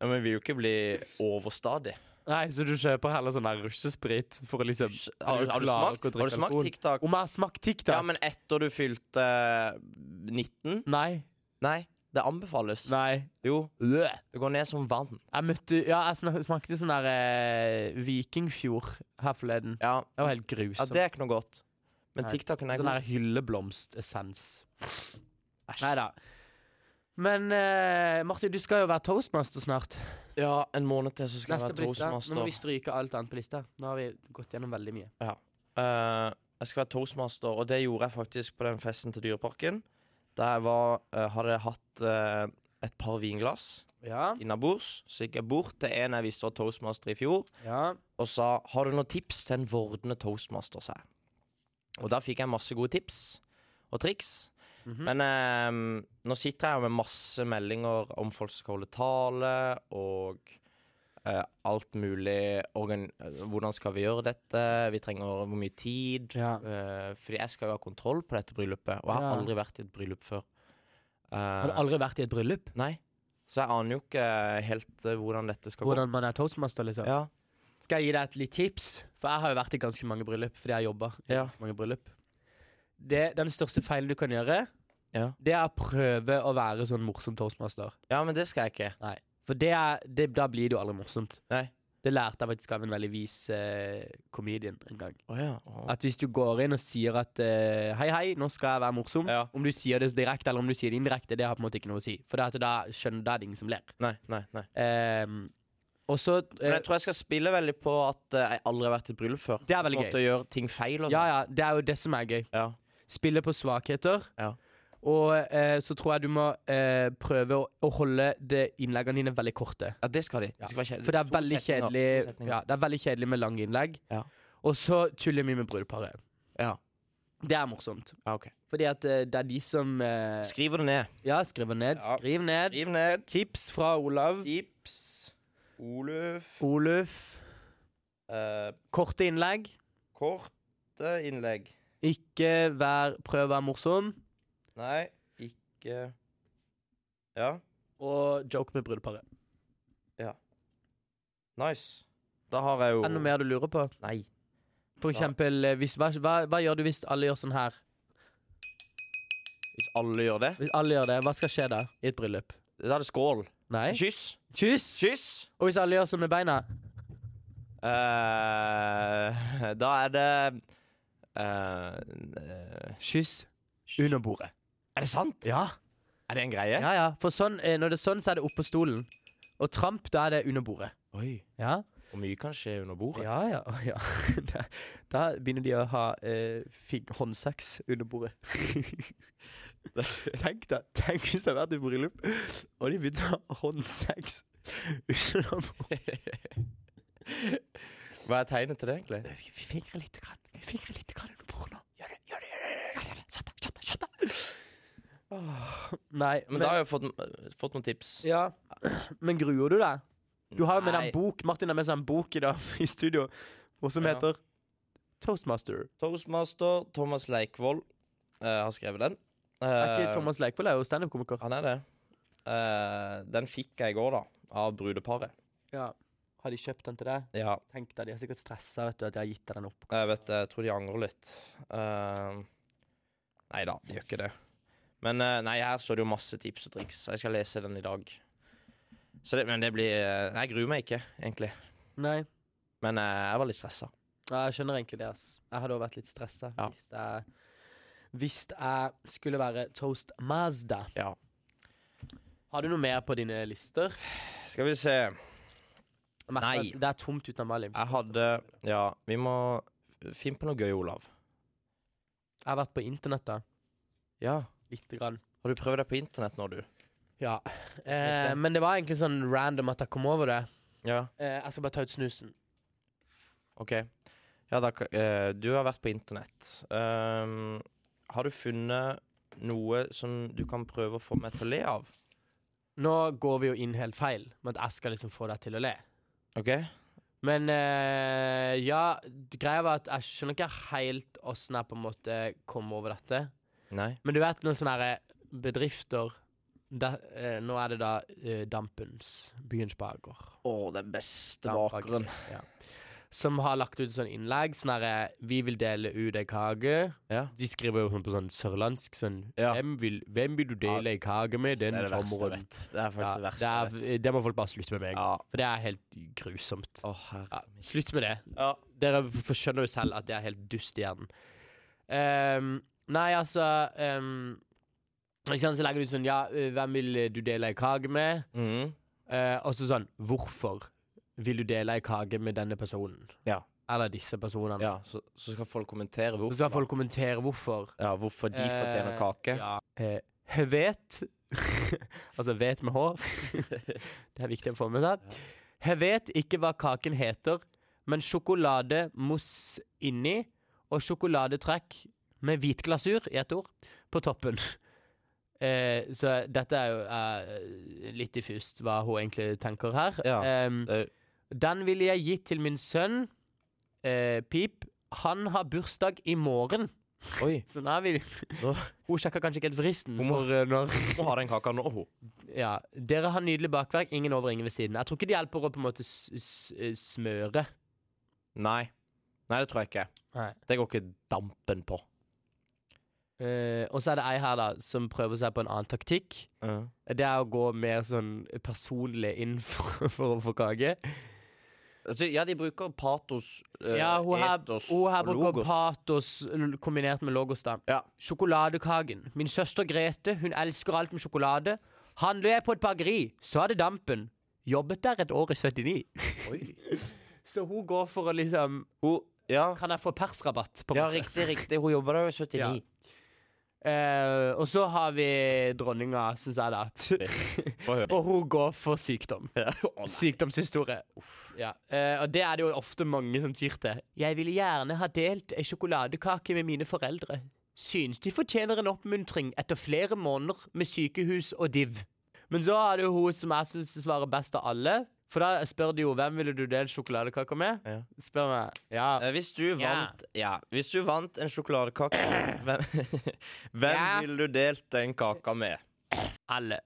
Ja, men vi vil jo ikke bli overstadig. Nei, så du kjøper heller sånn der russesprit for å liksom S- Har, du- har, du, klarer ikke å smakt, drikke har du smakt alkohol. Tic Tac? Om jeg har smakt TikTok? Ja, men etter du fylte eh, 19? Nei. Nei, det anbefales. Nei. Jo, Øh. det går ned som vann. Jeg møtte Ja, jeg snak, smakte sånn der eh, Vikingfjord her forleden. Ja, Det var helt ja grusomt. det er ikke noe godt. Men Nei. Tic Tacen er sånn god. der hylleblomstessens. Æsj. Nei da. Men eh, Martin, du skal jo være toastmaster snart. Ja, en måned til så skal jeg Neste være på lista. Nå toastmaster. må vi stryke alt annet på lista. Nå har vi gått gjennom veldig mye. Eh, jeg skal være toastmaster, og det gjorde jeg faktisk på den festen til Dyreparken. Der jeg var, eh, hadde jeg hatt eh, et par vinglass Ja, innabords. Så gikk jeg bort til en jeg visste var toastmaster i fjor, ja. og sa 'Har du noen tips til en vordende toastmaster?' sa jeg. Og da fikk jeg masse gode tips og triks. Mhm. Men eh, nå sitter jeg her med masse meldinger om folk som skal holde tale, og eh, alt mulig organ Hvordan skal vi gjøre dette? Vi trenger hvor mye tid? ja. Eh, fordi jeg skal jo ha kontroll på dette bryllupet, og jeg har Ja. aldri vært i et bryllup før. Eh, Har du aldri vært i et bryllup? Nei. Så jeg aner jo ikke helt eh, hvordan dette skal Hvordan man er toastmaster, liksom? gå. Ja. Skal jeg gi deg et litt tips? For jeg har jo vært i ganske mange bryllup fordi jeg har jobba i Ja. ganske mange bryllup. Det, den største feilen du kan gjøre, Ja. det er å prøve å være sånn morsom toastmaster. ja, men det skal jeg ikke. For det er, det, da blir det jo aldri morsomt. Nei. Det lærte jeg faktisk av en veldig vis eh, comedian en gang. Å ja. Å. At hvis du går inn og sier at eh, hei, hei, nå skal jeg være morsom, Ja. om du sier det direkte eller om du sier det indirekte, det har på en måte ikke noe å si. For det at da skjønner da er det ingen som ler. Nei, nei, nei. Ehm, og så eh, Men jeg tror jeg skal spille veldig på at eh, jeg aldri har vært i et bryllup før. Det er veldig Måtte gøy. gjøre ting feil og Ja, sånn. ja, det er jo det som er gøy. Ja. Spille på svakheter. Ja. Og eh, så tror jeg du må eh, prøve å, å holde de innleggene dine veldig korte. Ja, det skal de. Det skal være kjedelig. For det er To veldig setninger. kjedelig To setninger. Ja, det er veldig kjedelig med lange innlegg. Ja. Og så tuller vi med brudeparet. Ja. Det er morsomt. Ja, ok. Fordi at eh, det er de som eh, Skriver det ned. Ja, skriver ned. Ja. Skriv ned. Skriv ned. Tips fra Olav. Tips. Oluf. Eh, Oluf. Korte innlegg. korte innlegg. Ikke vær Prøv å være morsom. Nei, ikke Ja, Og joke med brudeparet. nice. Da har jeg jo Er det noe mer du lurer på? Nei. For Ja. eksempel, eh, hvis, hva, hva, hva gjør du hvis alle gjør sånn her? Hvis alle gjør det, Hvis alle gjør det, hva skal skje da? I et bryllup? da er det skål. Nei? Kyss. Kyss! Kyss. Og hvis alle gjør sånn med beina? Eh, da er det eh, eh, Kyss under bordet. Er det sant? Ja. Er det en greie? Ja, ja. For sånn, eh, når det er sånn, så er det oppå stolen. Og tramp, da er det under bordet. Oi. Ja, Og mye kan skje under bordet. ja. ja, å, ja. Da, da begynner de å ha eh, fig- håndsex under bordet. tenk deg, tenk hvis det hadde vært i bryllup, og de begynte å ha håndsex under bordet. Hva er tegnet til det, egentlig? Vi fingrer lite grann. Vi fingrer lite grann under bordet nå. Gjør det, gjør det, gjør det. Gjør det. Sett deg, Nei, Men, da har jeg fått, fått noen tips. Ja. Men gruer du deg? Du har jo med deg Nei. en bok. Martin har med seg en bok i dag i studio, og som Ja. heter Toastmaster. Toastmaster Thomas Leikvoll eh, har skrevet den. Eh, Er ikke Thomas Leikvoll er jo standup-komiker. Han er det. Eh, den fikk jeg i går, da. Av brudeparet. Ja. Har de kjøpt den til deg? Ja, Tenk deg, De er sikkert stressa vet du, at de har gitt deg den opp. jeg vet det. Jeg tror de angrer litt. Eh, nei da, de gjør ikke det. Men eh, nei, her står det jo masse tips og triks. Jeg skal lese den i dag. Så det, men det blir eh, Nei, jeg gruer meg ikke, egentlig. Nei, Men eh, jeg var litt stressa. ja, jeg skjønner egentlig det. ass. Jeg hadde også vært litt stressa Ja. hvis, jeg- hvis jeg skulle være toastmaster. Ja. Har du noe mer på dine lister? Skal vi se. Jeg merker Nei. at Det er tomt uten Amalie. Jeg hadde Ja, vi må finne på noe gøy, Olav. Jeg har vært på internett, da. Ja. Lite grann. Har du prøvd deg på internett nå, du? Ja. Eh, men det var egentlig sånn random at jeg kom over det. Ja, Eh, jeg skal bare ta ut snusen. OK. Ja, da, ka- eh, du har vært på internett. Ehm, har du funnet noe som du kan prøve å få meg til å le av? Nå går vi jo inn helt feil med at jeg skal liksom få deg til å le. OK? Men eh, ja, greia var at jeg skjønner ikke helt åssen jeg på en måte kom over dette. Nei? Men du vet noen sånne her eh, bedrifter da, eh, Nå er det da eh, Dampens, Byens Baker. Å, den beste bakeren. Som har lagt ut sånn innlegg. Sånn herre Vi vil dele ut ei kake. Ja. De skriver jo sånn på sånn sørlandsk sånn Ja. hvem, vil, hvem vil du dele ei kake med Det denne er det verste jeg sommeren? vet. Det er Ja, faktisk det verste jeg vet. det, er, det må folk bare slutte med meg. Ja. For det er helt grusomt. Å, Ja, herre min. slutt med det. Ja. Dere f- skjønner jo selv at det er helt dust i hjernen. Ehm, nei, altså ehm, ikke sant, Så legger du sånn Ja, eh, hvem vil eh, du dele ei kake med? Mhm. Eh, og så sånn Hvorfor vil du dele ei kake med denne personen? Ja. Eller disse personene. ja så, så skal folk kommentere Så hvorfor, skal folk kommentere hvorfor. ja, hvorfor de fortjener Eh, kake. Ja. Eh, Hevet Altså vet med hår. det er viktig å få med seg. Jeg vet ikke hva kaken heter, men sjokolademousse inni og sjokoladetrekk med hvit glasur i ett ord på toppen. Eh, så dette er jo eh, litt diffust hva hun egentlig tenker her. Ja, Em, det- den ville jeg gitt til min sønn eh, Pip. Han har bursdag i morgen. Oi, Så nå er vi Nå- Hun sjekker kanskje ikke helt fristen Hun må- for eh, når hun må ha den kaka nå, hun. ja. Dere har nydelig bakverk, ingen over, ingen ved siden. Jeg tror ikke det hjelper å på en måte s s eh, smøre. Nei. Nei, det tror jeg ikke. Nei. Det går ikke dampen på. Eh, og så er det ei her da som prøver seg på en annen taktikk. Det er å gå mer sånn personlig inn for, for å få kake. Altså, ja, de bruker patos, eh, Ja, hun her, etos hun her og bruker logos. patos l- kombinert med logos, da. Ja. Sjokoladekaken. Min søster Grete, hun elsker alt med sjokolade. Handler jeg på et bakeri, så er det dampen. Jobbet der et år i 79. så hun går for å liksom Hun, ja. Kan jeg få persrabatt? på en ja, måte? riktig, riktig. Hun jobber der jo i 79. Ja. Eh, og så har vi dronninga, syns jeg, da. Få høre. og hun går for sykdom. Sykdomshistorie. Ja. eh, og det er det jo ofte mange som tyr til. Jeg ville gjerne ha delt ei sjokoladekake med mine foreldre. Synes de fortjener en oppmuntring etter flere måneder med sykehus og div. Men så er det jo hun som jeg syns svarer best av alle. For da spør de jo hvem ville du delt sjokoladekaka med. Ja. Spør meg. Ja. Eh, Hvis du vant ja. Hvis du vant en sjokoladekake, hvem, hvem Ja. ville du delt den kaka med? Alle.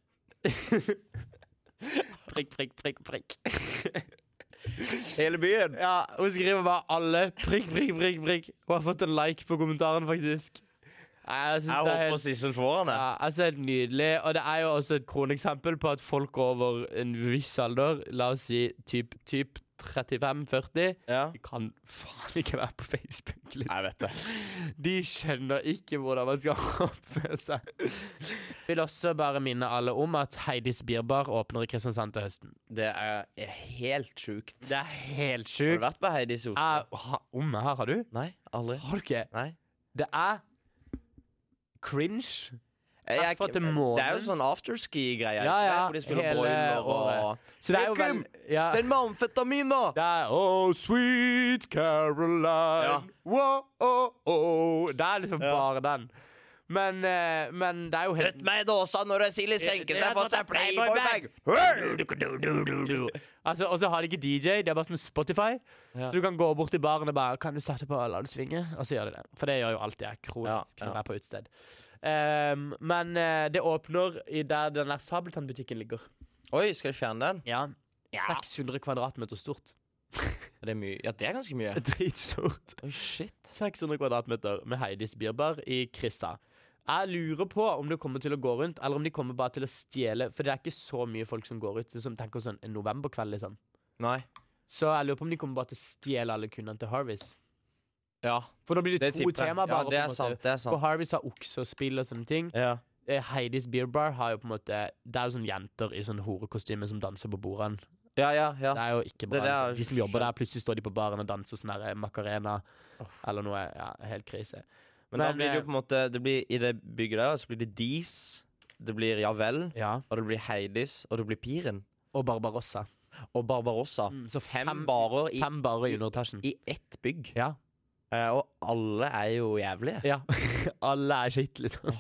prikk, prikk, prikk, prikk. Hele byen. Ja, Hun skriver bare 'alle'. Prikk, prikk, prikk. prikk Hun har fått en like på kommentaren, faktisk. Nei, Jeg Jeg syns det, er håper helt- Sissel får den. jeg. ja, jeg synes det er helt nydelig. Og det er jo også et kroneksempel på at folk over en viss alder, la oss si typ, typ 35-40, Ja. de kan faen ikke være på Facebook. Liksom. Jeg vet det. De skjønner ikke hvordan man skal oppføre seg. Vil også bare minne alle om at Heidis Birbar åpner i Kristiansand til høsten. Det er helt sjukt. Det er helt Har du sjukt. vært på Heidis Oslo? Jeg- ha- Om her har du? Nei, aldri. Har du ikke? Nei. Det er cringe. Jeg, Herfra til månen. det er jo sånn afterski-greie. Ja, ja, Hvor de spiller hele boiler og året. Så det er jo Joakim, vel ja. Send meg amfetamin, da! Det er Oh, sweet Caroline. Ja. Wow, oh, oh. Det er liksom Ja. bare den. Men, eh, men det er jo helt Møt meg i dåsa når en sild senker seg for seg Playboy-bag. Altså, og så har de ikke DJ, det er bare sånn Spotify. Så du kan gå bort til baren og bare Kan du sette på La det svinge? Og så gjør de det. For det gjør jo alltid jeg kronisk Ja, ja. når jeg er på utested. Um, men eh, det åpner i der den der Sabeltann-butikken ligger. Oi, skal de fjerne den? Ja. 600 kvadratmeter stort. Det er mye. Ja, det er ganske mye. Dritstort. Oi, shit. 600 kvadratmeter med Heidis Bierbar i Krissa. Jeg lurer på om det kommer til å gå rundt, eller om de kommer bare til å stjele. For det er ikke så mye folk som går ut. Som tenker sånn en novemberkveld, liksom. Nei. Så jeg lurer på om de kommer bare til å stjele alle kundene til Harvis. Ja, For da blir det, det to tipper jeg. temaer Ja, det bare. på en er måte. sant. Det er For sant. Harvis har oksespill og sånne ting. Ja. Eh, Heidis Beer Bar har jo på en måte Det er jo sånne jenter i sånn horekostyme som danser på bordene. Ja, ja, ja. Det er jo ikke bra. Det der er liksom. De som jobber der, plutselig står de på baren og danser sånn her, eh, Macarena eller noe. Ja, helt krise. Men, da Men, blir det eh, jo på en måte det blir, I det bygget der så blir det Dis, det blir Ja vel, Ja. og det blir Heidis, og det blir Piren. Og Barbarossa. Mm, Og Barbarossa. så Mm. fem, fem- barer i, Fem barer i underetasjen. i ett bygg. Ja. Eh, og alle er jo jævlige. ja. Alle er skitt, liksom.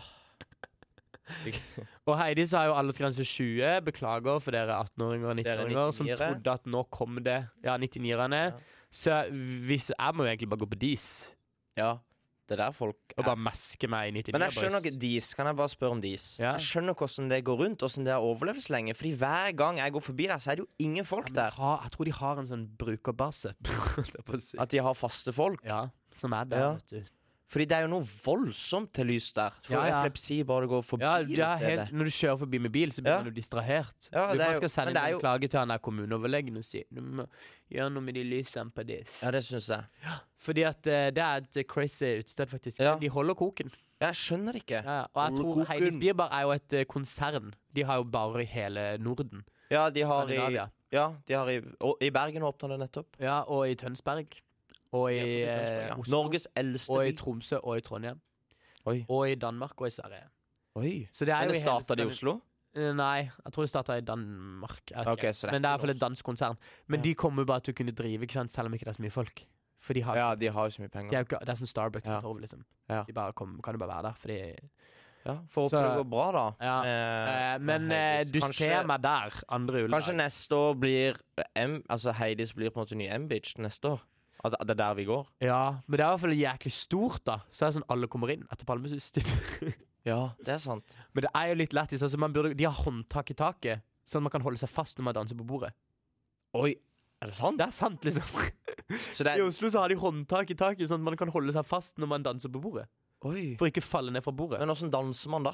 Og Heidis har jo aldersgrense 20. Beklager for dere 18-åringer og Dere 19-åringer som 99-ere. trodde at nå kom det Ja, 99-erne. Ja. Så hvis, jeg må jo egentlig bare gå på dis Ja, det er der folk og er. bare meske meg i 99 Men jeg skjønner ikke Dis. Kan jeg bare spørre om Dis? Ja. Jeg skjønner ikke hvordan det går rundt, hvordan det har overlevd så lenge. Fordi hver gang jeg går forbi der, så er det jo ingen folk der. Ha, jeg tror de har en sånn brukerbase. holdt jeg på å si. At de har faste folk. ja, som er der, Ja. vet du. Fordi det er jo noe voldsomt til lys der. For Ja, ja. epilepsi bare går forbi Ja, det det er stedet. helt, når du kjører forbi med bil, så blir Ja. du distrahert. Ja, du det er bare jo- skal sende men det inn er en jo- klage til han der kommuneoverlegen og si du må gjøre noe med de lysene på dis. Ja, det syns jeg. Fordi at eh, det er et crazy utested, faktisk. Ja. De holder koken. Jeg skjønner det ikke. Ja, ja. Og jeg tror Heidis Bierbar er jo et eh, konsern. De har jo barer i hele Norden. Ja, de har i, Skandinavia. ja, de har i, og, i Bergen åpna det nettopp. Ja, og i Tønsberg. Og i Ja, forbi Tønsberg, eh, ja. Oslo. Norges eldste og i by. Tromsø og i Trondheim. Oi. Og i Danmark og i Sverige. Oi. Så det er Men jo det i hele starta de i Skandin- Oslo? Eh, Nei, jeg tror det starta i Danmark. Jeg vet Ok, ikke. så det er Men det ikke er i hvert fall et dansk konsern. Men Ja. de kommer jo bare til å kunne drive, ikke sant? selv om ikke det er så mye folk. For de har, Ja, de har jo så mye de er penger. jo ikke, det er som Starbucks på Ja. torvet, liksom. Ja. De bare kom, kan jo bare være der, fordi Ja, Får håpe Så- det går bra, da. Ja. med- Eh, Men med eh, Heidis. du Kanskje- ser meg der andre Kanskje juledag. neste år blir M, Altså Heidis blir på en måte ny M-bitch neste år. At det er der vi går. Ja, men det er i hvert fall jæklig stort, da. Så er det sånn alle kommer inn etter Palmesus. typ. Ja, det er sant. men det er jo litt lættis. Altså, man burde- de har håndtak i taket, sånn at man kan holde seg fast når man danser på bordet. Oi, er det sant? Det er sant, liksom. Så det I er Oslo så har de håndtak i taket, sånn at man kan holde seg fast når man danser på bordet. Oi. For ikke falle ned fra bordet. Men åssen danser man da?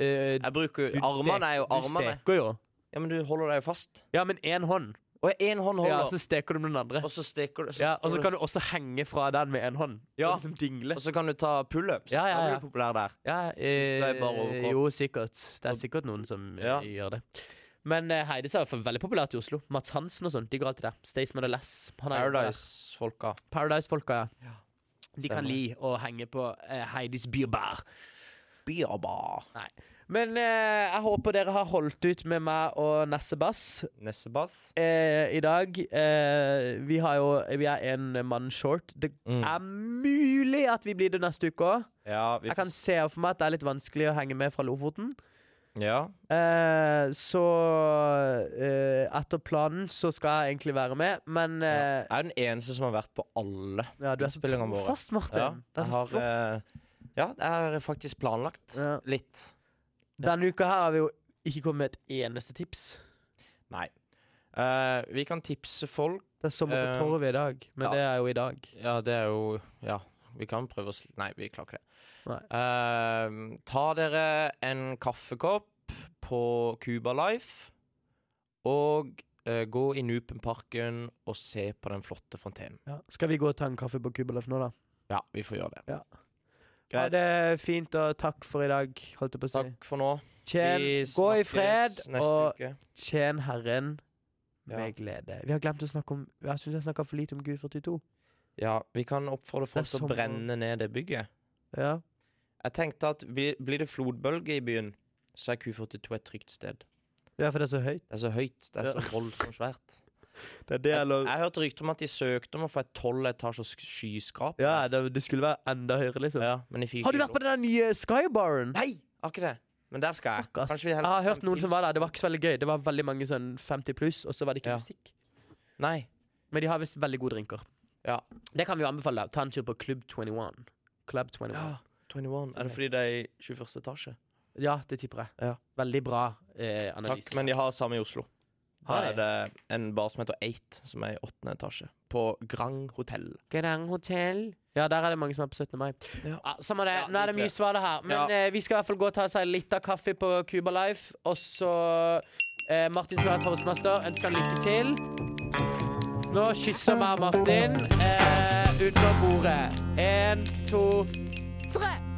Eh, Jeg bruker Du Armene er jo stek- armene. Du steker jo. Ja, men du holder deg jo fast. Ja, men én hånd. Og én hånd Ja, holder, så steker du med den andre. og så steker du. Ja, og så står kan du også henge fra den med én hånd. Ja. Og liksom du- dingle. og så kan du ta pullups. Ja, ja, Da blir ja. du populær der. Ja, Hvis det er bare eh, overkropp. jo, sikkert. Det er sikkert noen som eh, Ja. gjør det. Men eh, Heidis er i hvert fall veldig populært i Oslo. Mats Hansen og sånn. De går alltid der. Staysman og Less. Han er jo der. Paradise-folka. Paradise-folka, ja. De Stemmer. kan li å henge på eh, Heidis Bierbar. Birba. Men eh, jeg håper dere har holdt ut med meg og Nesse Bass. Nessebath. eh, i dag eh, Vi har jo Vi er en mann short. Det Mm. er mulig at vi blir det neste uke òg. Ja, vi Jeg kan se for meg at det er litt vanskelig å henge med fra Lofoten. ja. Eh, så eh, etter planen så skal jeg egentlig være med, men eh, Jeg er den eneste som har vært på alle. ja, Du er så Innspillingene våre. trofast, Martin. Ja, det jeg er så har, flott. eh, ja, jeg har faktisk planlagt Ja. litt. Denne uka her har vi jo ikke kommet med et eneste tips. Nei. Eh, vi kan tipse folk. Det er sommer på Eh, torvet i dag, men ja. det er jo i dag. Ja, det er jo Ja, vi kan prøve å sl... Nei, vi klarer ikke det. Nei. Eh, ta dere en kaffekopp på Cuba Life, og eh, gå i Nupenparken og se på den flotte fontenen. Ja. Skal vi gå og ta en kaffe på Kubeløf nå, da? Ja, vi får gjøre det. Ja. Ha Greit. det fint, og takk for i dag, holdt jeg på å si. Takk for nå. Tjen, Vi gå i snakkes fred, neste og uke. tjen Herren Ja. med glede. Vi har glemt å snakke om Jeg syns jeg snakka for lite om Gud 42. Ja, vi kan oppfordre folk Det er til å sommer. brenne ned det bygget. Ja. Jeg tenkte at blir, blir det flodbølge i byen, så er Q42 et trygt sted. ja, for det er så høyt. Det er så høyt, det er Ja. så voldsomt svært. Det er det, eller Jeg hørte rykter om at de søkte om å få et tolv etasjers skyskrap. Ja, det, det skulle være enda høyere, liksom. Ja, men de fikk Har du ikke vært på den der nye Skybaren? Nei! Har ikke det. Men der skal jeg. Fuck, ass. Kanskje vi Jeg heller- har hørt noen som var der. Det var ikke så veldig gøy. Det var veldig mange sånn 50 pluss, og så var det ikke Ja. musikk. Nei. Men de har visst veldig gode drinker. Ja. Det kan vi jo anbefale. deg. Ta en tur på Club 21. Club 21. Ja, 21. Er det fordi det er i 21. etasje? det tipper jeg. Ja. Veldig bra eh, analyse. Takk, men de har samme i Oslo. Har Her er det en bar som heter Eight, som er i åttende etasje. På Grand Hotell. Grand Hotel. Ja, der er det mange som er på 17. mai. Ja. Ja, samme det. Ja, Nå er det litt mye det. svar, det her. Men Ja. eh, vi skal i hvert fall gå og ta oss en liten kaffe på Cuba Life. Og så eh, Martin skal være toastmaster. Ønsker han lykke til. Nå kysser vi Martin eh, utenom bordet. Én, to, tre.